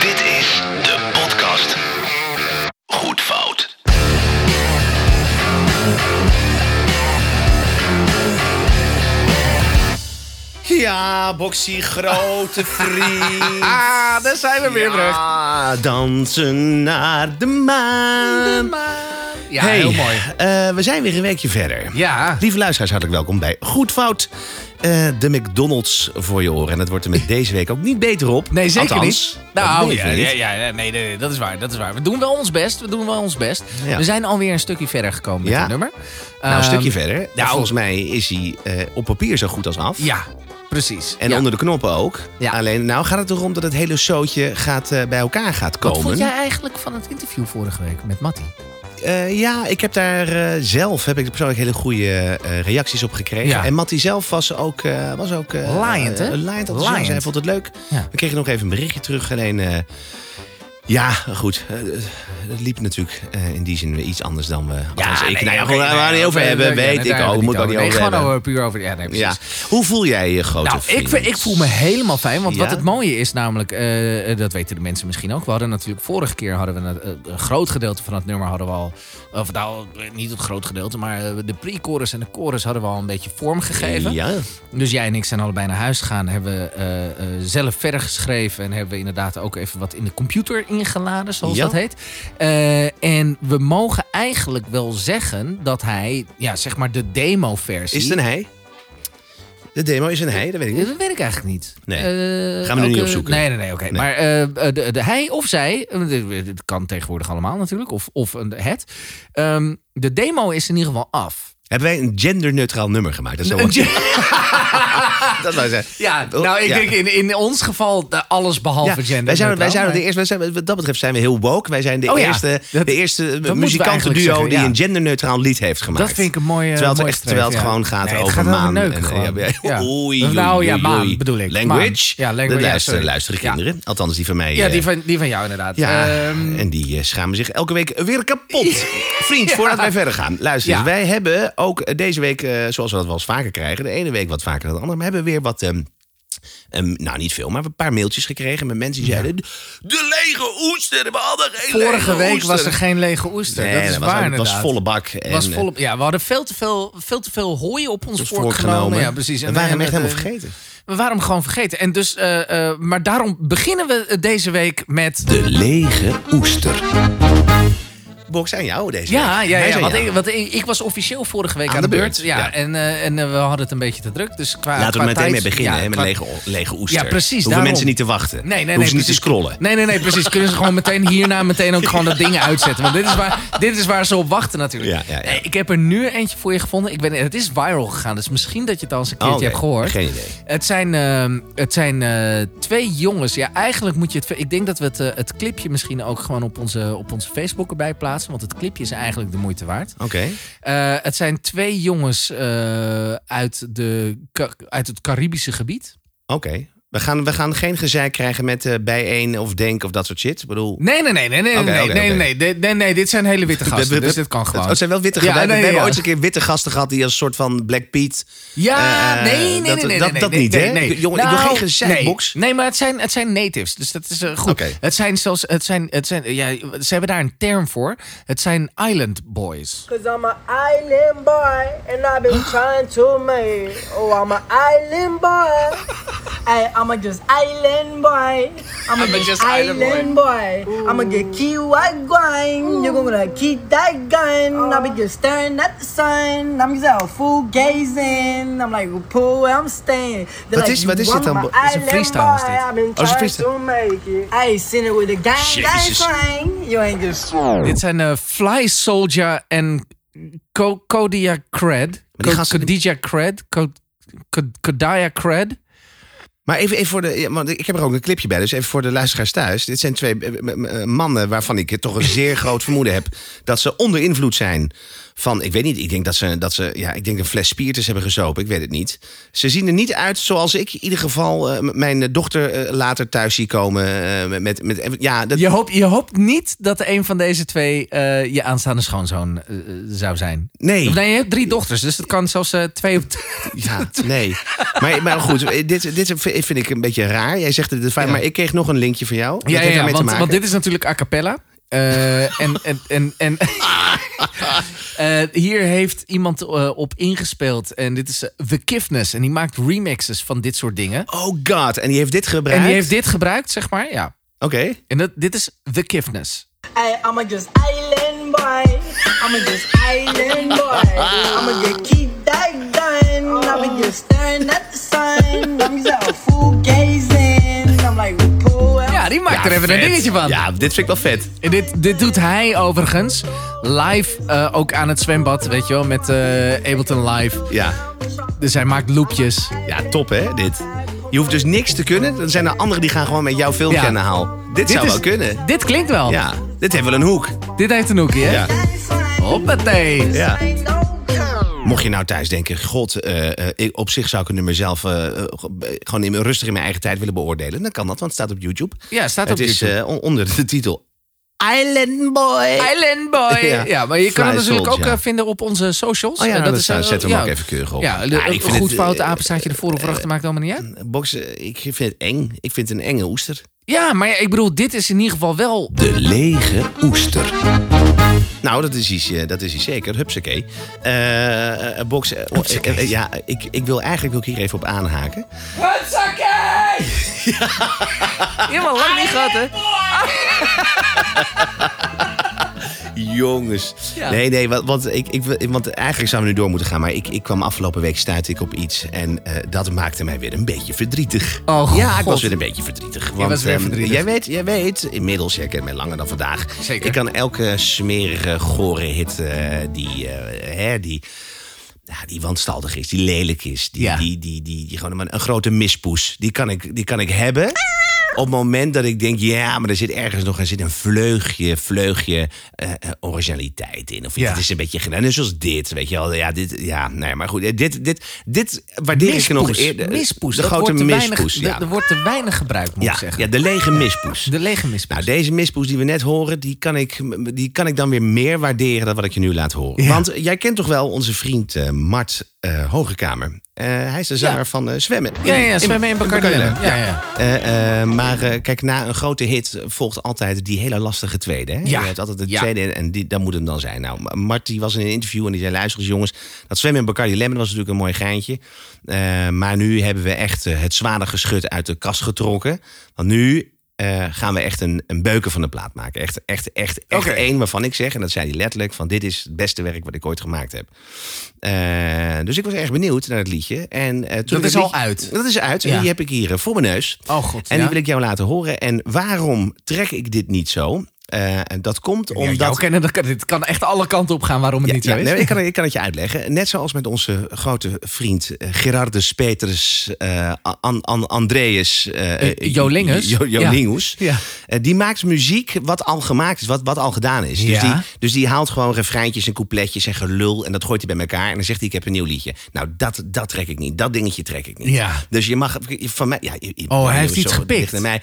Dit is de podcast Goed Fout. Ja, boxie, grote vriend. Ah, daar zijn we weer, Brecht. Ja, dansen naar de maan. Ja, Hey, heel mooi. eh, we zijn weer een weekje verder. Ja. Lieve luisteraars, hartelijk welkom bij Goed Fout. eh, de McDonald's voor je oren. En het wordt er met deze week ook niet beter op. Nee, zeker Althans, niet. dat Nou, weet ik ja, niet. ja, ja, ja, nee, nee, nee, dat is waar, dat is waar. We doen wel ons best, we doen wel ons best. Ja. We zijn alweer een stukje verder gekomen met Ja. dit nummer. Nou, een Ehm, stukje verder. nou. Volgens mij is hij eh, op papier zo goed als af. Ja, precies. En Ja. onder de knoppen ook. Ja. Alleen, nou gaat het erom dat het hele zootje gaat, eh, bij elkaar gaat komen. Wat vond jij eigenlijk van het interview vorige week met Matti? Eh, ja, ik heb daar eh, zelf heb ik er persoonlijk hele goede eh, reacties op gekregen. Ja. En Matty zelf was ook... eh was ook eh, Liant, hè? eh, Liant. enthousiast. Liant. Hij vond het leuk. Ja. We kregen nog even een berichtje terug. Alleen, eh, ja, goed. eh, het liep natuurlijk eh, in die zin weer iets anders dan we... althans, ik, nou ja, oké, goed, daar waar nee, we het niet over oké, hebben, nee, weet daar ik hebben we al. het Moet ik ook niet nee, over gewoon hebben. over- puur over... Ja, nee, precies. Ja. Hoe voel jij je grote Nou, ik, vriend? ik voel me helemaal fijn. Want Ja? wat het mooie is namelijk, eh, eh, dat weten de mensen misschien ook. We hadden natuurlijk vorige keer hadden we een, eh, een groot gedeelte van het nummer hadden we al. Of nou, eh, niet het groot gedeelte, maar eh, de pre-chorus en de chorus hadden we al een beetje vormgegeven. Ja, Dus jij en ik zijn allebei naar huis gegaan. Hebben we eh, eh, zelf verder geschreven. En hebben we inderdaad ook even wat in de computer ingeladen, zoals Ja. dat heet. Eh, en we mogen eigenlijk wel zeggen dat hij, ja, zeg maar de demo-versie. is het een hij? De demo is een hij, dat weet ik Ja, niet. dat weet ik eigenlijk niet. Nee. Eh, Gaan we nu ook, niet eh, opzoeken. Nee, nee, nee, oké. Nee. Maar eh, eh, de, de, hij of zij, eh, dit- dit kan tegenwoordig allemaal natuurlijk, of, of een het. Ehm, de demo is in ieder geval af. Hebben wij een genderneutraal nummer gemaakt? Dat zou Een wel- dat zou zijn. Ja, nou, ik Ja. denk in, in ons geval eh, alles behalve Ja, gender. Wij zijn, wij zijn de eerste, wij zijn, wat dat betreft zijn we heel woke. Wij zijn de Oh ja, eerste, dat- de eerste we muzikantenduo eigenlijk zeggen, die ja. een genderneutraal lied heeft gemaakt. Dat vind ik een mooie Terwijl het, mooie echt, terwijl het streep, ja. gewoon gaat Nee, het over gaat maan. neuken en- gewoon. ja, ja, Ja. Oei, oei, Nou ja, oei, maan oei. bedoel ik. Language. Maan. Ja, language, Dat ja, luisteren, sorry. luisteren Ja. kinderen. Althans, die van mij. Ja, eh, die van, die van jou inderdaad. ja, Ehm, en die eh, schamen zich elke week weer kapot. Vriend, voordat wij verder gaan. Luister, eens, Ja. wij hebben ook eh, deze week, eh, zoals we dat wel eens vaker krijgen... de ene week wat vaker dan de andere... maar hebben we weer wat... ehm, ehm, nou, niet veel, maar een paar mailtjes gekregen met mensen die zeiden... De lege oester, we hadden geen vorige lege week oester." was er geen lege oester. Nee, dat is dat was, waar het was inderdaad. volle bak. En, was eh, volop, ja, we hadden veel te veel, veel, te veel hooi op ons was vork genomen. Ja, precies. We waren hem en- echt en- helemaal vergeten. We waren hem gewoon vergeten. En dus, eh, eh, maar daarom beginnen we eh, deze week met... De lege oester. Box aan jou deze Ja, week. ja, Hij is ja aan want, jou. ik, want ik, ik was officieel vorige week aan, de, beurt. Ja, ja. En, eh, en eh, we hadden het een beetje te druk. Dus qua, Laten we qua er meteen mee tijd- beginnen, ja, hè, met qua- lege, lege oester. Ja, precies, Hoeven daarom. mensen niet te wachten. Nee, nee, nee. Hoeven ze niet te precies. scrollen. Nee, nee, nee, precies. Kunnen ze gewoon meteen hierna meteen ook gewoon dat ding uitzetten. Want dit is waar, dit is waar ze op wachten natuurlijk. Ja, ja, ja. Nee, ik heb er nu eentje voor je gevonden. Ik ben, het is viral gegaan, dus misschien dat je het al eens een keertje Oh, Oké, hebt gehoord. Geen idee. Het zijn, ehm, het zijn eh, twee jongens. Ja, eigenlijk moet je het... Ik denk dat we het, eh, het clipje misschien ook gewoon op onze, op onze Facebook erbij plaatsen. Want het clipje is eigenlijk de moeite waard. Oké. Eh, het zijn twee jongens eh, uit, de, Ka- uit het Caribische gebied. Oké. We, gaan, we gaan geen gezeik krijgen met eh, bijeen of denk of dat soort shit. Ik bedoel... Nee, nee, nee, nee, nee, Oké, nee, oké, nee, oké. nee, nee, nee, nee, dit zijn hele witte gasten, We- we- dus dit kan Oh, gewoon. het zijn wel witte Ja, gasten. nee, we hebben ja. ooit eens een keer witte gasten gehad die als een soort van Black Piet. ja, eh, nee, nee, nee, dat- nee, nee, dat- nee, dat nee, niet, nee, hè? nee. Jongen, ik wil Nou, geen gezeikbox. Nee, nee, maar het zijn, het zijn natives, dus dat is eh, goed. Oké. Het zijn zelfs, het zijn, het zijn, ja, ze hebben daar een term voor. Het zijn island boys. Cause I'm an island boy and I've been trying to make. Oh, I'm an island boy. I, I'm a just island boy. I'm a just, island boy. I'm a get key white going. You're gonna keep that gun. I'll be just staring at the sun. I'm just out full gazing. I'm like, pool where I'm staying. They're Wat is- you wat is dit want dan, my bo- is een island freestyle, is boy. dit? I've been Oh, is een trying freestyle. to make it. I ain't seen it with the gang, gang Jezus. slang. You ain't just. Oh. Dit zijn eh, Fly Soldier en Co- Kodia Cred. die gasten- Kodia Cred. Co- Co- Kodia Cred. Maar even, even voor de. ja, Want ik heb er ook een clipje bij, dus even voor de luisteraars thuis. Dit zijn twee eh, m- m- eh, mannen waarvan ik toch een zeer groot vermoeden heb dat ze onder invloed zijn van, ik weet niet, ik denk dat ze, dat ze ja, ik denk een fles spiritus hebben gezopen. Ik weet het niet. Ze zien er niet uit zoals ik in ieder geval eh, m- mijn dochter eh, later thuis zie komen. eh, met, met, met- ja, dat, Je hoopt, je hoopt niet dat een van deze twee eh, je aanstaande schoonzoon eh, zou zijn. nee. Of nee, je hebt drie dochters, dus dat kan zelfs eh, twee op Ja, nee. Maar, maar goed, eh, dit, dit vind ik een beetje raar. Jij zegt het, fijn, Ja. maar ik kreeg nog een linkje van jou. Dit Ja, ja, heeft ja, daarmee te want, maken. want dit is natuurlijk a cappella. Eh, en en, en, en eh, hier heeft iemand eh, op ingespeeld. En dit is eh, The Kiffness. En die maakt remixes van dit soort dingen. Oh god, en die heeft dit gebruikt? En die heeft dit gebruikt, zeg maar. Ja. Oké. En dat, dit is The Kiffness. Ay, I'ma just island boy. I'ma just island boy. I'ma just keep that gun. I'ma just staring at the sun. I'm just out full gazing. I'm like, pull out. Ja, die maakt er even een vet. dingetje van. Ja, dit vind ik wel vet. En dit, dit doet hij overigens live eh, ook aan het zwembad, weet je wel, met eh, Ableton Live. Ja, Dus hij maakt loopjes. ja top hè, dit. Je hoeft dus niks te kunnen. Dan zijn er anderen die gaan gewoon met jouw filmpje Ja. aan de haal. Dit, zou is- wel kunnen. Dit klinkt wel. Ja, dit heeft wel een hoek. Dit heeft een hoekje, hè? Ja. Hoppatee. Ja. Mocht je nou thuis denken, god, eh, eh, ik, op zich zou ik het nummer zelf eh, eh, gewoon in, rustig in mijn eigen tijd willen beoordelen. Dan kan dat, want het staat op YouTube. Ja, staat op het is YouTube. eh, on- onder de titel Island Boy. Island Boy. Eh, Ja. Ja, maar je Fly kan het natuurlijk ook Soulja. eh, vinden op onze socials. Oh ja, Eh, dat staat- eh, zetten we hem ja. ook even keurig op. Ja, de- Ja, ik een vind goed het, fout eh, apenstaartje ervoor of erachter maakt allemaal niet uit. Boksen, ik vind het eng. Ik vind het een enge oester. Ja, maar ja, ik bedoel, dit is in ieder geval wel... De lege oester. Nou, dat is iets, eh, dat is iets zeker. Hupsakee. Eh eh, box, eh, eh, eh, ja, ik, ik wil eigenlijk wil ik hier even op aanhaken. Helemaal lang niet gehad, hè? Jongens. Ja. Nee, nee, want, want, ik, ik, wil- want eigenlijk zouden we nu door moeten gaan. Maar ik, ik kwam afgelopen week stuitte ik op iets. En eh, dat maakte mij weer een beetje verdrietig. Oh, ja, ik God. was weer een beetje verdrietig. Want, was weer ehm, verdrietig. jij, weet, jij weet, inmiddels, jij kent mij langer dan vandaag. Zeker. Ik kan elke smerige, gore hit eh, die, eh, hè, die, ja, die wanstaltig is, die lelijk is. Die, Ja. die, die, die, die gewoon een, een grote mispoes. Die kan ik, die kan ik hebben. Op het moment dat ik denk, ja, maar er zit ergens nog er zit een vleugje, vleugje eh, eh, originaliteit in. Of iets. Ja. Het is een beetje gedaan. Net zoals dit, weet je wel. Ja, dit, ja nee, maar goed. eh, Dit, dit, dit waardeer ik nog eerder. mispoes. De dat grote wordt te weinig- mispoes, de- ja. Er wordt te weinig gebruikt, moet ik ja, zeggen. ja, de lege mispoes. De lege mispoes. Nou, deze mispoes die we net horen, die kan ik, die kan ik dan weer meer waarderen dan wat ik je nu laat horen. Ja. Want jij kent toch wel onze vriend eh, Mart eh, Hogekamer. Eh, hij is de zanger van eh, Zwemmen. ja, ja, zwemmen in Bacardi Lemon. Ja, ja. Eh, eh, maar eh, kijk, na een grote hit volgt altijd die hele lastige tweede. Hè? Ja. Je hebt altijd de Ja. tweede en die, dat moet hem dan zijn. Nou, Mart die was in een interview en die zei... luister eens jongens, dat zwemmen in Bacardi Lemon was natuurlijk een mooi geintje. Eh, maar nu hebben we echt eh, het zware geschut uit de kast getrokken. Want nu eh, gaan we echt een, een beuken van de plaat maken. Echt, echt, echt, echt Oké. één waarvan ik zeg... en dat zei hij letterlijk, van dit is het beste werk wat ik ooit gemaakt heb. Eh, dus ik was erg benieuwd naar het liedje. En, eh, toen Dat ik is het al liedje- uit. Dat is uit. En Ja. die heb ik hier eh, voor mijn neus. Oh, god, En ja. die wil ik jou laten horen. En waarom trek ik dit niet zo? Eh, en dat komt Ja, omdat... jou kennen, dat kan, dit kan echt alle kanten op gaan waarom het Ja, niet zo ja, is. nee, ik, kan, ik kan het je uitleggen. Net zoals met onze grote vriend eh, Gerardus Petrus eh, An- An- Andreas eh, Eh, Jolingus. Jo- Jolingus. Ja. Ja. Eh, die maakt muziek wat al gemaakt is, wat, wat al gedaan is. Dus, Ja. die, dus die haalt gewoon refreintjes en coupletjes en gelul en dat gooit hij bij elkaar. En dan zegt hij: Ik heb een nieuw liedje. Nou, dat, dat trek ik niet. Dat dingetje trek ik niet. Ja. Dus je mag van mij. Ja, je- je- Oh, hij heeft zo, iets gepikt. dicht naar Mij.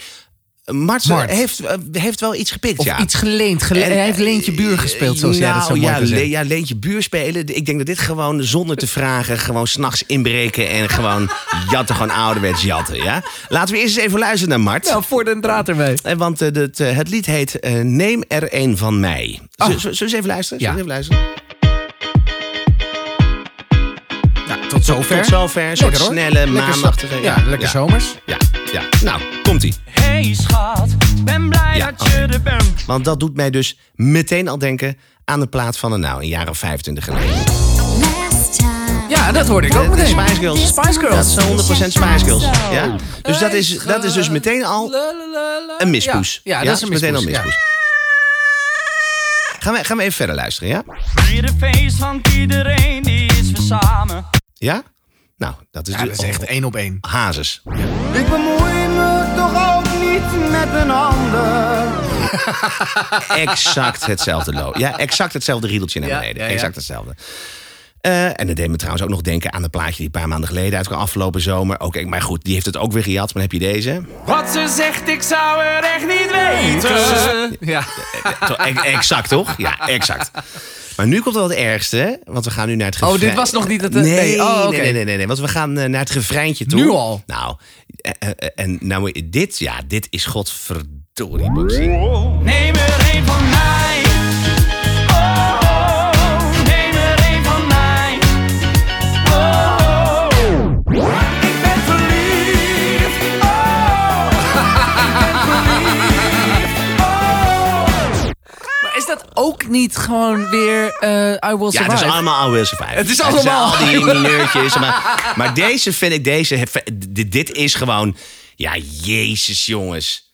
Mart, Mart. Heeft, eh, heeft wel iets gepikt. Of ja. iets geleend. gele- En- Dus eh, hij heeft Leentje Buur gespeeld, zoals jij dat zo Nou, mooi ja, kan le- zeggen. ja, leentje buur spelen. Ik denk dat dit gewoon zonder te vragen... gewoon s'nachts inbreken en gewoon jatten. Gewoon ouderwets jatten, ja? Laten we eerst eens even luisteren naar Mart. Nou, voor de draad erbij. Eh, Want eh, dat, eh, het lied heet eh, Neem er een van mij. Z- z- Zullen we eens even luisteren? Zullen we Oh. Ja. eens even luisteren? Nou, tot zover. Tot zover. Een soort Lekker, hoor. snelle, Lekker zo- maandachtige... Ja, lekker zomers. Ja, ja. Nou, komt-ie. Hey schat, ben blij Ja, dat je er bent. Want dat doet mij dus meteen al denken... aan de plaat van, eh, nou, een jaar of 25 geleden. Last time. Ja, dat hoorde ik De- ook de meteen. Spice Girls. Oh, Spice Girls. Dat is 100% Spice Girls. Ja? Dus dat is, dat is dus meteen al een mispoes. Ja, ja, dat is een meteen al mispoes, mispoes. Gaan, we, gaan we even verder luisteren, ja? Hier de feest, want iedereen die is weer samen. Ja? Nou, dat is, Ja, dat is echt één op één. Hazes. Ik bemoei me toch ook niet met een ander. exact hetzelfde lood. Ja, exact hetzelfde riedeltje naar Ja, beneden. ja, ja. Exact hetzelfde. Eh, en dat deed me trouwens ook nog denken aan een plaatje die een paar maanden geleden uitkwam afgelopen zomer. Oké, maar goed, die heeft het ook weer gejat. Maar dan heb je deze? Wat ze zegt, ik zou er echt niet weten. Eh, Ja. Zo, e- exact, toch? Ja, exact. Maar nu komt wel het ergste, want we gaan nu naar het Oh, refrein. dit was nog niet het- Nee, nee, oh, oké. nee, nee, nee, nee, nee, want we gaan eh, naar het refreintje toe. Nu al? Nou, eh, eh, eh, en nou, dit, ja, dit is godverdorie boxing. Neem er een van mij. Oh, oh, neem er een van mij. Oh, oh. ik ben verliefd. Oh, Maar is dat ook niet gewoon weer eh, I Will Ja, Survive? het is allemaal I Will Survive. Het is zijn allemaal al die mineurtjes. Maar, maar deze vind ik, deze, dit, dit is gewoon, ja, jezus jongens.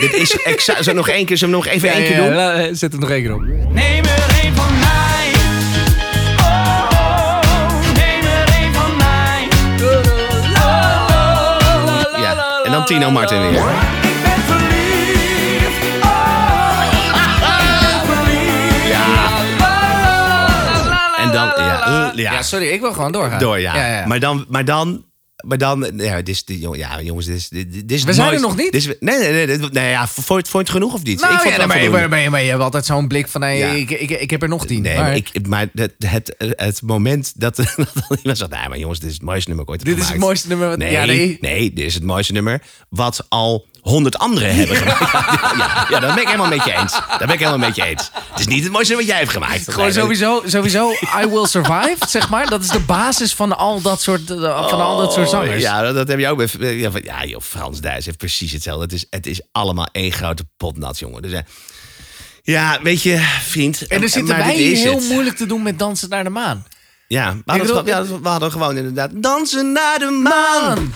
dit is exact, zullen we nog één keer, zullen we nog even één keer doen? Eh, zet hem nog één keer op. neem er een van mij. Oh, oh, neem er een van mij. Oh, Ja, en dan Tino Martin weer. Ik ben verliefd. Oh, ik ben verliefd. En dan, ja, eh, ja. Ja, sorry, ik wil gewoon doorgaan. Nou door, ja. Maar dan, maar dan, maar dan, ja, dit is, de- jong- ja jongens, dit is, dit, dit is We zijn er nooit- nog niet? dit is- nee, nee, nee, dit- nee, ja, vond je het- vond je het genoeg of niet? nou, ik vond het wel ja, maar, maar, voldoende. maar, maar je hebt altijd zo'n blik van, hey, Ja. ik, ik, ik heb er nog tien. Nee, maar, maar, ik, maar het, het, het moment dat, dat iemand zegt... Nee, maar jongens, dit is het mooiste nummer ooit Dit is het gemaakt." mooiste nummer wat- Nee, ja, nee. nee. dit is het mooiste nummer wat al honderd anderen hebben gemaakt. Ja, ja, ja, dat ben ik helemaal met je eens. Dat ben ik helemaal met je eens. Het is niet het mooiste nummer wat jij hebt gemaakt. Gewoon Nee, dat- sowieso, sowieso I Will Survive, zeg maar. Dat is de basis van al dat soort, eh, van al dat soort zangers. Oh, Ja, dat, dat heb je ook. bij- Ja, van- ja, joh, Frans Duits heeft precies hetzelfde. Het is, het is allemaal één grote potnat, jongen. Dus, eh, ja, weet je, vriend. eh, En dan zitten maar wij dit hier is heel het. moeilijk te doen met Dansen naar de Maan. Ja, we hadden, bedoel- het gewoon- ja, we hadden gewoon inderdaad dansen naar de maan.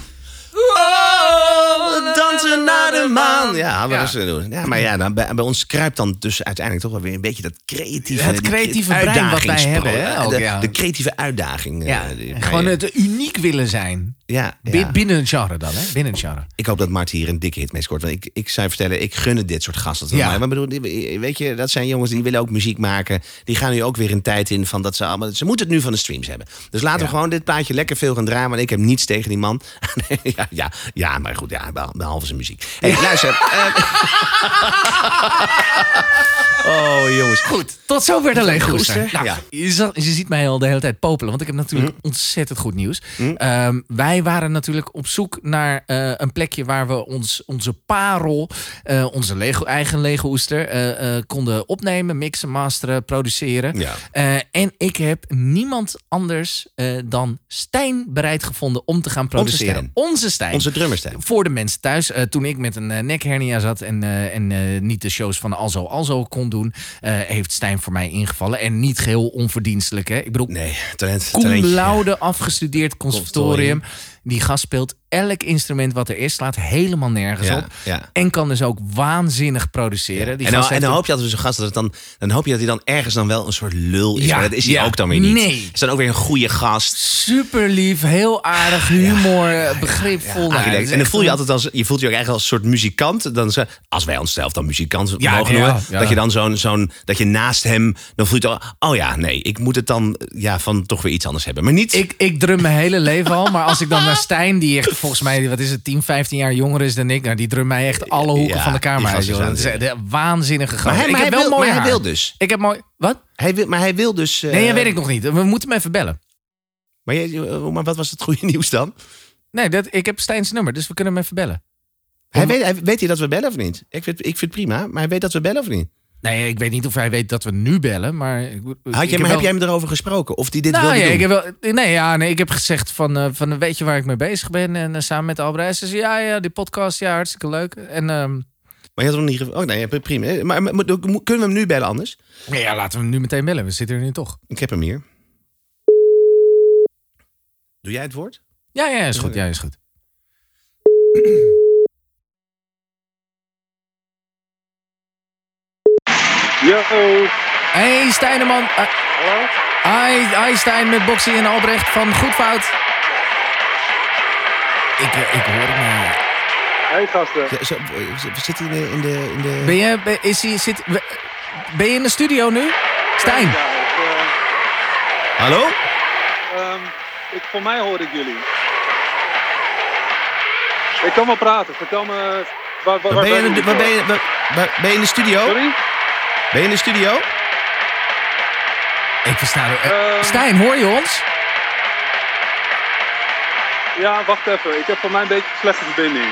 Oh, dansen naar de maan. Ja, hadden we Ja. dat zullen doen. Ja, maar ja, dan, bij, bij ons kruipt dan dus uiteindelijk toch wel weer een beetje dat creatieve... Het creatieve brein wat wij uitdagingspro- hebben, hè, ook, de, ja. de creatieve uitdaging. eh, Ja, die- en gewoon ja, het uniek willen zijn. ja, Bi- ja. Binnen een genre dan, hè? Binnen een genre. Ik hoop dat Mart hier een dikke hit mee scoort. Want ik, ik zou je vertellen, ik gun het dit soort gasten. Ja. Ja. Maar ik bedoel, die- weet je, dat zijn jongens die willen ook muziek maken. Die gaan nu ook weer een tijd in van dat ze allemaal... Ze moeten het nu van de streams hebben. Dus laten we gewoon dit plaatje lekker veel gaan draaien. Want ik heb niets tegen die man. Nee, ja, ja, ja, maar goed, ja, behal- behalve zijn muziek. Hé, hey, luister. eh, oh, jongens. Goed. Tot zover de leeggoester. Leeggoester, Nou, ja. Mm. je, zal- je ziet mij al de hele tijd popelen, want ik heb natuurlijk ontzettend goed nieuws. Ehm, wij waren natuurlijk op zoek naar eh, een plekje waar we ons, onze parel, eh, onze lego, eigen leeggoester, eh, eh, konden opnemen, mixen, masteren, produceren. Ja. Eh, en ik heb niemand anders eh, dan Stijn bereid gevonden om te gaan produceren. Stijn. Onze Stijn. Onze drummerstijl. Voor de mensen thuis. eh, toen ik met een eh, nekhernia zat en, eh, en eh, niet de shows van Alzo Alzo kon doen, eh, heeft Stijn voor mij ingevallen. En niet geheel onverdienstelijk. Hè? Ik bedoel, Nee, talent. cum talentje. laude afgestudeerd conservatorium. Die gast speelt elk instrument wat er is, slaat helemaal nergens Ja, op. ja. En kan dus ook waanzinnig produceren. Die En dan, gast en heeft dan een- hoop je dat we zo'n gast dat het dan, dan hoop je dat hij dan ergens dan wel een soort lul is. Ja, maar dat is hij ja. ook dan weer niet. Nee. Is dan ook weer een goede gast. super lief, heel aardig, humor, begripvol. Nou, Aangelegd. dat is en dan echt voel je een- altijd als je voelt je ook eigenlijk als een soort muzikant. Dan zo- als wij onszelf dan muzikant Ja, mogen ja, noemen, ja. dat je dan zo'n zo'n dat je naast hem dan voelt je al, oh ja, nee, ik moet het dan ja van toch weer iets anders hebben, maar niet. Ik, ik drum mijn hele leven al. Maar als ik dan naar Stijn, die echt volgens mij, wat is het, 10, 15 jaar jonger is dan ik. Nou, die drumt mij echt alle hoeken Ja, van de kamer die uit. gast is joh. Dat is waanzinnig. echt een waanzinnige gast. maar hij, ik maar heb hij wel wil, mooi maar hij haar. wil dus. Ik heb mooi... Wat? Hij wil, maar hij wil dus. eh, Nee, dat weet ik nog niet. We moeten hem even bellen. Maar, jij- maar wat was het goede nieuws dan? Nee, dat, ik heb Stijn's nummer, dus we kunnen hem even bellen. Hij weet, hij, weet hij dat we bellen of niet? Ik vind, ik vind het prima, maar hij weet dat we bellen of niet? Nee, ik weet niet of hij weet dat we nu bellen, maar... Ik, Had Had je, maar heb jij hem erover gesproken? Of die dit nou wilde ja, doen? ik heb wel, nee, ja, nee, ik heb gezegd van, eh, van weet je waar ik mee bezig ben? En eh, samen met Albrecht. Ze zei, ja, ja, die podcast, ja, hartstikke leuk. En ehm, Maar je had hem niet... ge- Oh nee, ja, prima. Maar, maar, moet- kunnen we hem nu bellen anders? nee, ja, laten we hem nu meteen bellen. We zitten er nu toch. Ik heb hem hier. Doe jij het woord? Ja, ja, is goed. Ja, is goed. Yo, Hey Stijneman. Eh, hi, hi Stijn met Boxy en Albrecht van Goedfout. Ik, eh, ik hoor het maar. Hey gasten. Ja, zo, eh, we zitten in de... In de, in de... Ben je, ben- is hij, zit, we- ben je in de studio nu? Stijn, Ja, ik, eh, Hallo? ehm, ik, voor mij hoor ik jullie. Ik kan wel praten. Vertel me... Waar, waar, Waar ben, je, in jullie de- waar ben, voor? je, waar- waar- ben je in de studio? Sorry? Ben je in de studio? ik versta er- eh, Ehm. Stijn, hoor je ons? Ja, wacht even. Ik heb voor mij een beetje slechte verbinding.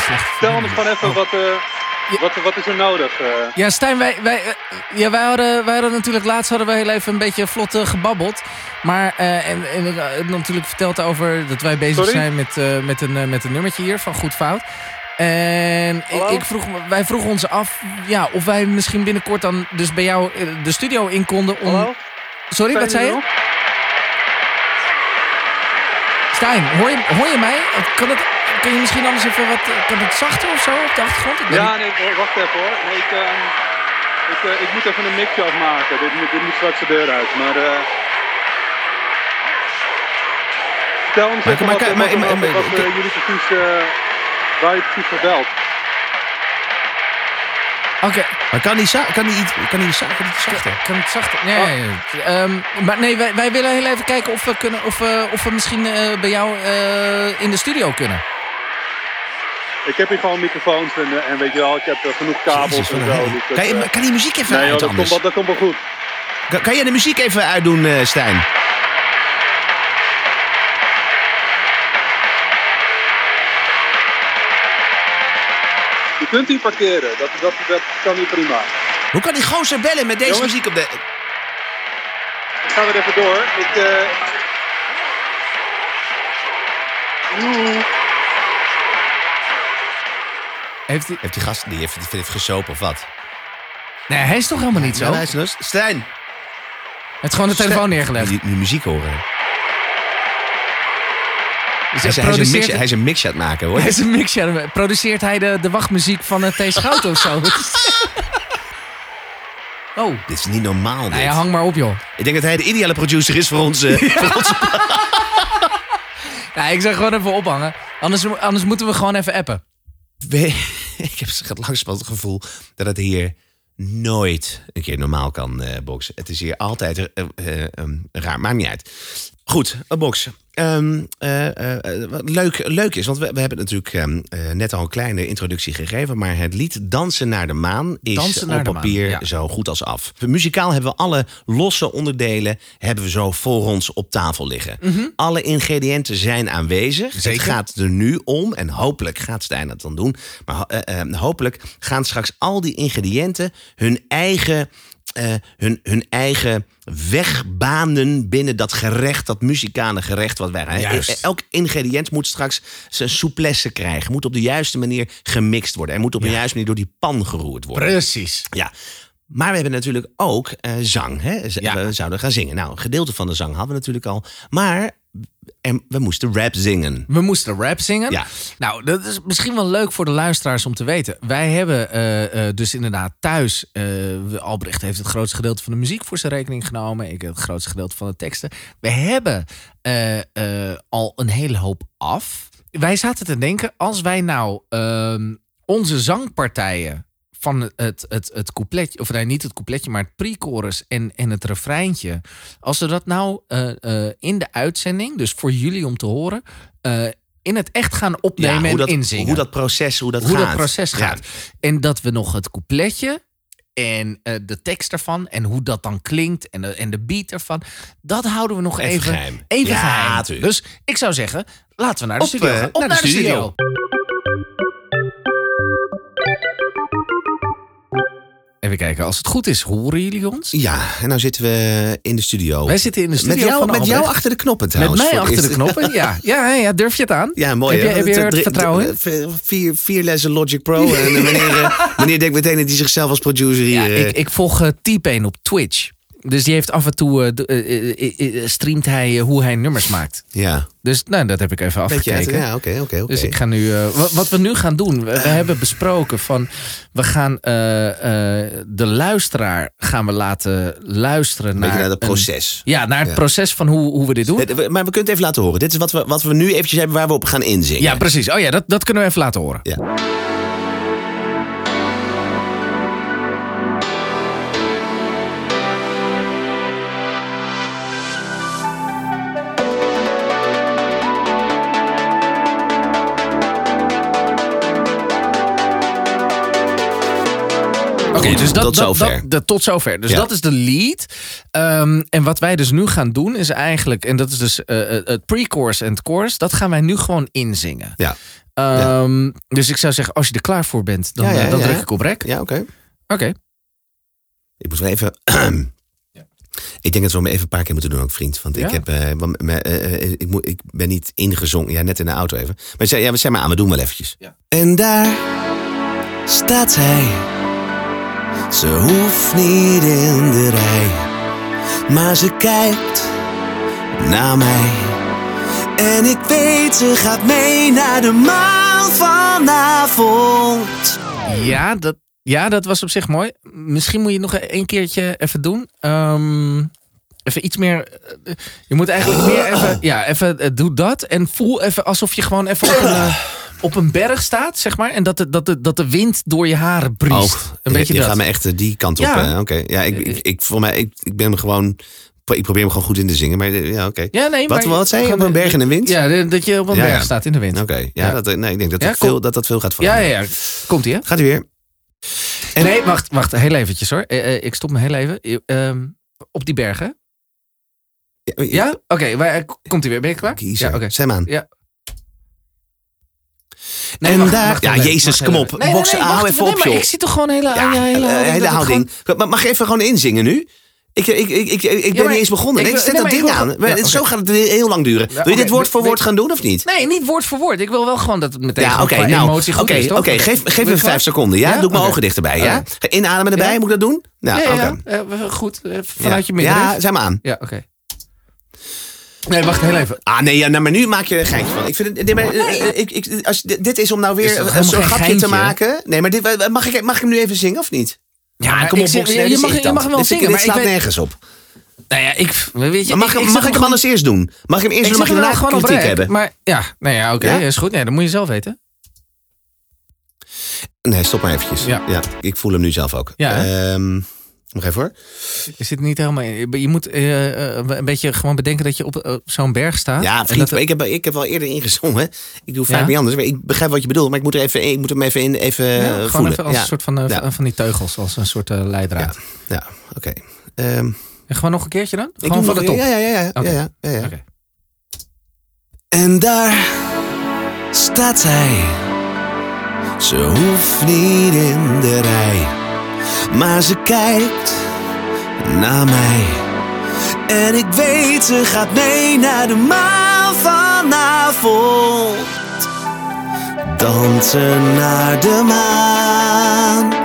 Vertel me gewoon even, Oh. wat, eh, wat, wat is er nodig? eh? Ja, Stijn, wij, wij, eh, ja, wij, hadden, wij hadden natuurlijk laatst hadden wij heel even een beetje vlot eh, gebabbeld. Maar eh, en, en ik had natuurlijk verteld over dat wij bezig Sorry? zijn met, eh, met, een, eh, met een nummertje hier van Goed Fout. En ik, Hallo? ik vroeg, me- wij vroegen ons af ja, of wij misschien binnenkort dan dus bij jou eh, de studio in konden om... Hallo? Sorry, Zijn wat zei jullie je? Stijn, hoor je, hoor je mij? Kan, het, kan je misschien anders even wat... eh, Kan het zachter of zo op de achtergrond? Ik nog? weet niet. Ja, nee, hoor, wacht even hoor. Nee, ik, ehm, ik, eh, ik moet even een mixje afmaken. Dit moet, dit moet straks de deur uit. Maar... eh Vertel ons Maar- even maar- wat, maar- wat- maar- wat- maar- wat, eh, maar- jullie precies... eh, waar je precies voor belt. Oké, Maar kan die, za- kan die, iets- kan die, za- kan die iets zachter? Kan het zachter? Nee, nee, nee. Ehm, maar nee, wij, wij willen heel even kijken of we, kunnen, of, we- of we misschien eh, bij jou eh, in de studio kunnen. Ik heb hier gewoon microfoons en, eh, en weet je wel, ik heb eh, genoeg kabels Jezus, wat en een zo. herrie. dus dat, kan, eh, je, kan die muziek even nee, joh, uit dat, komt anders? wel, dat komt wel goed. Kan, kan jij de muziek even uitdoen, eh, Stijn? Je kunt hier parkeren, dat, dat, dat kan hier prima. Hoe kan die gozer bellen met deze Jongens? muziek op de... Ik ga weer even door. Ik, eh Joe. Heeft hij... Heeft die gast die heeft, die heeft gesopen of wat? Nee, hij is toch helemaal niet zo? Ja, Hij luister eens. Stijn! heeft gewoon de telefoon neergelegd. Nu muziek horen. Dus Hij is, hij, is hij een mix, produceert, hij is een mix aan het maken, hoor. hij is een mixer. Produceert hij de, de wachtmuziek van eh, T. Schouten of zo? Wat is- Oh, Dit is niet normaal, dit. nou ja, hang maar op joh. Ik denk dat hij de ideale producer is voor ons. eh, voor ons- Nou, ik zou gewoon even ophangen. Anders, anders moeten we gewoon even appen. We- ik heb het langzamerhand het gevoel dat het hier nooit een keer normaal kan eh boksen. Het is hier altijd eh, eh, ehm, raar, maakt niet uit. Goed, eh, boksen. Ehm, eh, eh, wat leuk, leuk is, want we, we hebben natuurlijk ehm, eh, net al een kleine introductie gegeven, maar het lied Dansen naar de Maan is Dansen naar op de Maan, papier ja. zo goed als af. Muzikaal hebben we alle losse onderdelen hebben we zo voor ons op tafel liggen. Alle ingrediënten zijn aanwezig. Mhm. Zeker. Het gaat er nu om, en hopelijk gaat Stijn dat dan doen. Maar ho- eh, eh, hopelijk gaan straks al die ingrediënten hun eigen, eh, hun, hun eigen weg banen binnen dat gerecht, dat muzikale gerecht wat wij gaan. Juist. Eh, eh, Elk ingrediënt moet straks zijn souplesse krijgen. Moet op de juiste manier gemixt worden. En moet op de juiste manier door die pan geroerd worden. Precies. Ja. Maar we hebben natuurlijk ook eh, zang. Hè? Z- Ja. We zouden gaan zingen. Nou, een gedeelte van de zang hadden we natuurlijk al. Maar en we moesten rap zingen. We moesten rap zingen. Ja. Nou, dat is misschien wel leuk voor de luisteraars om te weten. Wij hebben eh, eh, dus inderdaad thuis... eh, we- Albrecht heeft het grootste gedeelte van de muziek voor zijn rekening genomen. Ik heb het grootste gedeelte van de teksten. We hebben eh, eh, al een hele hoop af. Wij zaten te denken, als wij nou ehm, onze zangpartijen... van het, het, het coupletje, of nee, niet het coupletje... maar het pre-chorus en, en het refreintje... als we dat nou eh, eh, in de uitzending, dus voor jullie om te horen... eh, in het echt gaan opnemen hoe, en dat, inzingen hoe dat proces, hoe dat hoe gaat. dat proces Ja. gaat. En dat we nog het coupletje en eh, de tekst daarvan en hoe dat dan klinkt en de, en de beat ervan, dat houden we nog even, Even geheim. Even Ja, geheim. tuurlijk. Dus ik zou zeggen, laten we naar de Op, studio eh, gaan. op naar de studio. Even kijken, als het goed is, horen jullie ons? Ja, en nou zitten we in de studio. Wij zitten in de studio met jou, van met jou Albrecht. achter de knoppen Met trouwens. mij voor het achter de eerst. knoppen, ja. ja. Ja, ja, durf je het aan? Ja, mooi. Heb je, hè? heb je Drie- er drie- eh, vertrouwen in? v- Vier, vier lessen Logic Pro. eh, En meneer, eh, meneer denkt meteen dat hij zichzelf als producer hier... Ja, eh, ik, ik volg eh, T-Pain op Twitch. Dus die heeft af en toe, eh, do- eh, eh, eh, eh, streamt hij eh, hoe hij nummers maakt. Ja, Dus nou, dat heb ik even beetje uit. afgekeken. Ja, oké, oké, oké. Dus ik ga nu. eh, wa- wat we nu gaan doen. We, we hebben besproken van. We gaan eh, eh, de luisteraar gaan we laten luisteren Een naar. beetje naar het een- proces. ja, naar het Ja. proces van hoe, hoe we dit doen. Het- Eh, we- Maar we kunnen het even laten horen. Dit is wat we, wat we nu eventjes hebben waar we op gaan inzingen. ja, precies. Oh ja, dat, dat kunnen we even laten horen. Ja. Oké, dus dat, tot dat, zover. Dat, dat- tot zover. Dus Ja. dat is de lead. Ehm, en wat wij dus nu gaan doen is eigenlijk. En dat is dus eh, eh, het pre-chorus en het chorus. Dat gaan wij nu gewoon inzingen. Ja, Ehm, Dus ik zou zeggen, als je er klaar voor bent, dan, Ja, ja, eh, dan ja. druk ik op rek. ja oké. Oké. Ik moet wel even. Ik denk dat we hem even een paar keer moeten doen, ook vriend. Want Ja. ik, heb, eh, want, eh, eh, eh, ik, moet, ik ben niet ingezongen. Ja, net in de auto even. Maar zeg, ja, we zijn maar aan, we doen wel eventjes. Ja. En daar staat zij. Ze hoeft niet in de rij. Maar ze kijkt naar mij. En ik weet, ze gaat mee naar de maan vanavond. Ja dat, ja, dat was op zich mooi. Misschien moet je het nog een keertje even doen. Ehm, even iets meer. eh, Je moet eigenlijk meer even. Ja, even eh, doe dat. En voel even alsof je gewoon even op een, eh, op een berg staat, zeg maar. En dat de, dat, de, dat de wind door je haren briest. een je, beetje Oh, je dat. gaat me echt eh, die kant op. Ja. hè? Oké. Ja, ik, ik, ik, voor mij, ik, ik ben hem gewoon. Ik probeer hem gewoon goed in te zingen, maar eh, ja, oké. Ja, nee, wat, maar- wat zei je? gewoon, Op een eh, berg in de wind? Ja, de- dat je op een Ja, berg ja. staat in de wind. Oké. Ja, Ja. dat, eh, nee, ik denk dat, Ja, dat, kom. veel, dat dat veel gaat Ja, veranderen. ja, ja. Komt ie, hè? Gaat u weer? En- Nee, wacht, wacht. Heel eventjes hoor. Eh, eh, ik stop me heel even. Eh, ehm, op die bergen. Ja? Ja? Oké, waar- eh, komt ie weer. Ben je klaar? Kiezer. Ja, oké. Zet hem aan. Ja. Nee, en wacht, daar. wacht ja, even, Jezus, wacht kom even. op. Nee, nee, Boksen, nee, hou wacht even even. op, Nee, joh. maar ik zie toch gewoon hele, Ja, ja, eh, hele houding. hele dat ik houding. gewoon- Maar Mag je even gewoon inzingen nu? Ik, ik, ik, ik, ik ben maar niet eens begonnen. ik Nee, wil- zet nee, dat maar ik ding wil- aan. ja, Maar dit- Zo oké. gaat het heel lang duren. Ja, Wil je dit oké. woord voor Nee. woord gaan doen of niet? Nee, niet woord voor woord. Ik wil wel gewoon dat het meteen Ja, gewoon oké. qua nou, emotie goed oké, is, toch? oké, geef, geef Ben me je klaar? vijf seconden, ja? Ja? Doe ik mijn Oké. ogen dichterbij, ja? Oké. Ga Inademen erbij, Ja? moet ik dat doen? Nou, Ja, oké. ja, ja. Eh, goed. eh, vanuit je midden. Ja, zeg maar aan. Ja, oké. Nee, wacht heel even. Ah, nee, ja, nou, maar nu maak je er een geintje van. Ik vind het, nee, maar, eh, eh, ik, ik, als, dit dit is om nou Is weer toch eh, helemaal zo'n geen grapje geintje? te maken. Nee, maar dit, eh, mag, ik, mag ik hem nu even zingen of niet? Ja, Ah, maar kom ik op, zeg- Boxer, je, dit is mag, je irritant. mag hem wel Dit- zingen, Dit maar ik slaat weet... nergens op. Nou ja, ik... Weet je, Maar mag ik, ik, ik mag zeg ik hem anders eerst doen? Mag ik hem eerst doen, Ik zet mag je hem wel daarna gewoon op kritiek rek, hebben? Maar ja, nou ja, oké, Ja? is goed. Nee, dat moet je zelf weten. Nee, stop maar eventjes. Ja. Ja, ik voel hem nu zelf ook. Ja, Ehm, Nog even hoor. Je zit niet helemaal in. Je moet eh, eh, een beetje gewoon bedenken dat je op eh, zo'n berg staat. Ja, En vriend, dat het- maar ik, heb, ik heb wel eerder ingezongen. Ik doe vaak Ja? niet anders. Maar ik begrijp wat je bedoelt, maar ik moet, er even, ik moet hem even in even Ja, eh, gewoon voelen. even als ja. een soort van, eh, Ja. van die teugels, als een soort eh, leidraad. Ja, oké. Ehm, En gewoon nog een keertje dan? ik doe Gewoon van nog- de top. Ja, ja, ja. ja, Oké. ja, ja, ja, ja. Oké. En daar staat zij. Ze hoeft niet in de rij, maar ze kijkt naar mij. En ik weet, ze gaat mee naar de maan vanavond. Dansen naar de maan.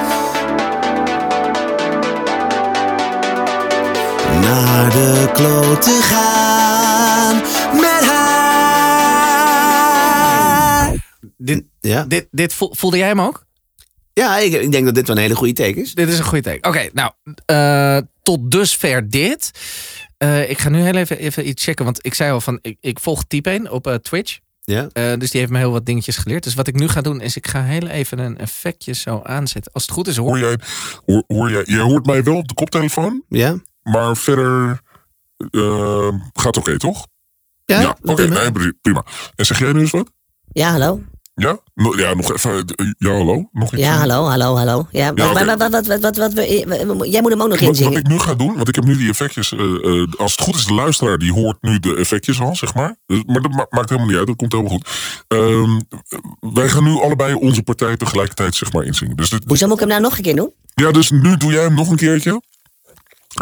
naar de kloot te gaan met haar. Dit, Ja, dit, dit vo- voelde jij hem ook? ja ik, ik denk dat dit wel een hele goede take is. Dit is een goede teken. Oké, nou, eh, tot dusver dit. Eh, ik ga nu heel even, even iets checken, want ik zei al van, ik, ik volg Typeen op eh, Twitch. Ja. Eh, dus die heeft me heel wat dingetjes geleerd. Dus wat ik nu ga doen, is ik ga heel even een effectje zo aanzetten. Als het goed is, hoor Hoor jij, hoor, hoor jij, jij hoort mij wel op de koptelefoon, Ja? maar verder eh, gaat oké, toch? Ja, oké, nee, pri- prima. En zeg jij nu eens wat? Ja, hallo. Ja? No- ja, nog even. eh, Ja, hallo? Nog iets? Ja, hallo, hallo, hallo. Ja, Ja, maar- maar- oké. maar wat, wat, wat, wat, we- we- we- jij moet hem ook nog Wat, wat inzingen. ik nu ga doen, want ik heb nu die effectjes. eh, eh, als het goed is, de luisteraar die hoort nu de effectjes al, zeg maar. Dus- maar dat ma- maakt helemaal niet uit, dat komt helemaal goed. Ehm, wij gaan nu allebei onze partij tegelijkertijd, zeg maar, inzingen. Dus dit, Hoezo moet ik hem nou nog een keer doen? Ja, dus nu doe jij hem nog een keertje.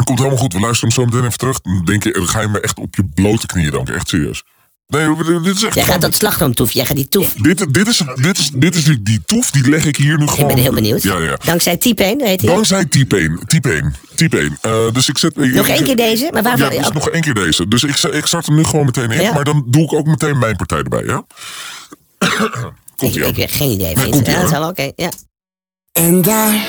Komt helemaal goed. We luisteren hem zo meteen even terug. Dan, denk je, dan ga je me echt op je blote knieën danken. Echt serieus. Nee, we- dit is echt... Jij gaat dat slagroomtoef, jij gaat die toef. Dit, dit, is, dit, is, dit is die, die toef, die leg ik hier nu gewoon... Ik ben heel benieuwd. Ja, ja. Dankzij T-Pain, heet hij. Dankzij type 1. Type 1. Type 1. Eh, dus ik zet... Nog één keer deze? Maar waarvan- Ja, dus nog één keer deze. Dus ik, ik start er nu gewoon meteen in. Ja. Maar dan doe ik ook meteen mijn partij erbij, ja? Ik, Komt-ie aan. ik heb geen idee, Nee, vriend. komt-ie, Ja, dat hoor. zal wel, oké. Ja. En daar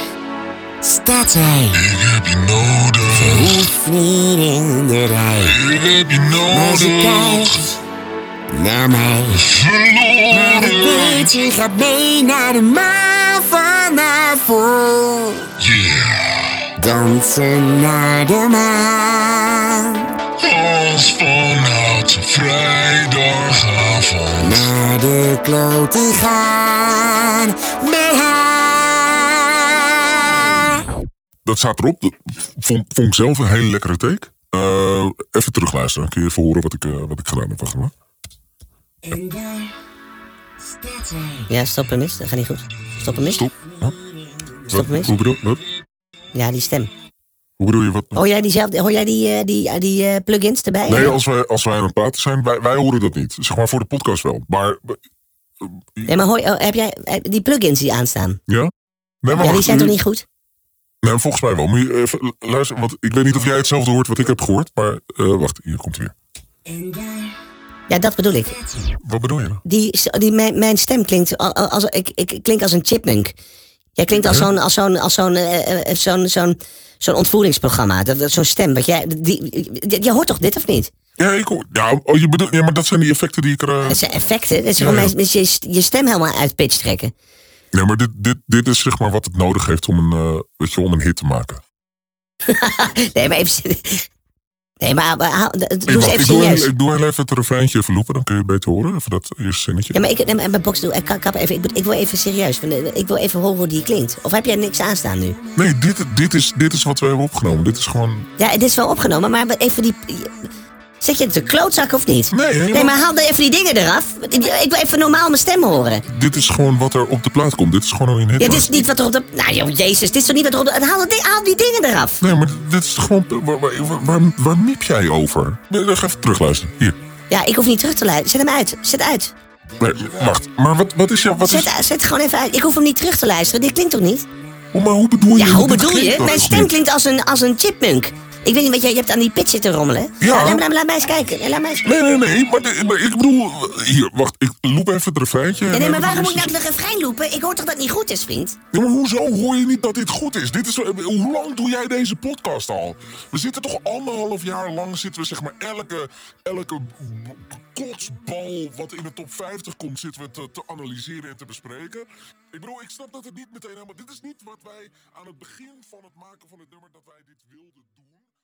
staat hij. Ik heb je nodig. Hoeft niet in de rij. Ik heb je Maar ze nodig. kijkt naar mij. Maar ik Verloren. weet, je gaat mee naar de maan vanavond. Yeah. Dansen naar de maan. Als vanuit vrijdagavond. Naar de kloten gaan met haar. Dat staat erop. Dat vond, vond ik zelf een hele lekkere take. Eh, even terugluisteren. Kun je even horen wat ik, eh, wat ik gedaan heb. Wacht maar. En daar staat hij. ja, stop hem eens. Dat gaat niet goed. Stop hem eens. Stop. Huh? Stop hem Wat? eens. Hoe bedoel, wat? Ja, die stem. Hoe bedoel je wat? Hoor jij, diezelfde, hoor jij die, eh, die, eh, die eh, plugins erbij? Nee, Ja. als wij, als wij aan het praten zijn, wij, wij horen dat niet. Zeg maar voor de podcast wel. Maar Nee, maar hoor, oh, heb jij eh, die plugins die aanstaan? ja? Nee, maar Ja, die wacht, zijn u- toch niet goed? Nee, volgens mij wel. Moet je even luisteren, want ik weet niet of jij hetzelfde hoort wat ik heb gehoord. Maar eh, wacht, hier komt hij weer. En daar Ja, dat bedoel ik. Wat bedoel je nou? Die, die, mijn, mijn stem klinkt al- al- als, ik, ik klink als een chipmunk. Jij klinkt als zo'n als zo'n als zo'n eh, eh, zo'n zo'n zo'n ontvoeringsprogramma. Dat, dat, zo'n stem. Wat jij, die, die- je hoort toch dit of niet? Ja, ik hoor, ja, oh, je bedoelt, ja, maar dat zijn die effecten die ik er... eh, Dat zijn effecten. Dat is Ja, gewoon ja. mijn- met je, je stem helemaal uit pitch trekken. Nee, maar dit, dit, dit is zeg maar wat het nodig heeft om een, eh, weet je, om een hit te maken. Nee, maar even. Nee, maar maar haal- doe Ik, eens wacht, even ik, doe, serieus. heel- ik doe heel even het refreintje even lopen, dan kun je het beter horen. Even dat eerste zinnetje. Ja, maar ik, nee, maar mijn box doe. Ik, kap even, ik, moet- ik wil even serieus. want, eh, Ik wil even horen hoe die klinkt. Of heb jij niks aanstaan nu? Nee, dit, dit, is, dit is wat we hebben opgenomen. Dit is gewoon... Ja, dit is wel opgenomen, maar even die. Zet je het een klootzak of niet? Nee, helemaal- Nee, maar haal dan even die dingen eraf. Ik wil even normaal mijn stem horen. Dit is gewoon wat er op de plaat komt. Dit is gewoon een hit. Ja, dit is niet wat er op de. Nou, joh, jezus, dit is toch niet wat er op de. Haal, dat ding- haal die dingen eraf. Nee, maar dit is gewoon... Waar, waar, waar, waar, waar miep jij over? Nee, Ga even terugluisteren. Hier. Ja, ik hoef niet terug te luisteren. Zet hem uit. Zet uit. Nee, wacht. Maar wat, wat is jouw... Wat Zet, is, zet gewoon even uit. Ik hoef hem niet terug te luisteren. Dit klinkt toch niet? Oh, maar hoe bedoel je... Ja, hoe Dit bedoel klinkt je? dat Mijn toch stem niet? klinkt als een, als een chipmunk. Ik weet niet wat jij. Je hebt aan die pitch zitten rommelen. Ja. Nou, Laat, laat, laat mij eens kijken. Laat mij eens... Nee, nee, nee. Maar, dit- maar ik bedoel... Hier, wacht. Ik loop even het refreintje. Nee, nee, maar waarom moet ik ik nou de refrein lopen? Ik hoor toch dat het niet goed is, vriend? Ja, maar hoezo hoor je niet dat dit goed is? Dit is eh, hoe lang doe jij deze podcast al? We zitten toch anderhalf jaar lang zitten we zeg maar elke, elke kotsbal wat in de top 50 komt zitten we te, te analyseren en te bespreken. Ik bedoel, ik snap dat het niet meteen helemaal... Dit is niet wat wij aan het begin van het maken van het nummer dat wij dit wilden doen.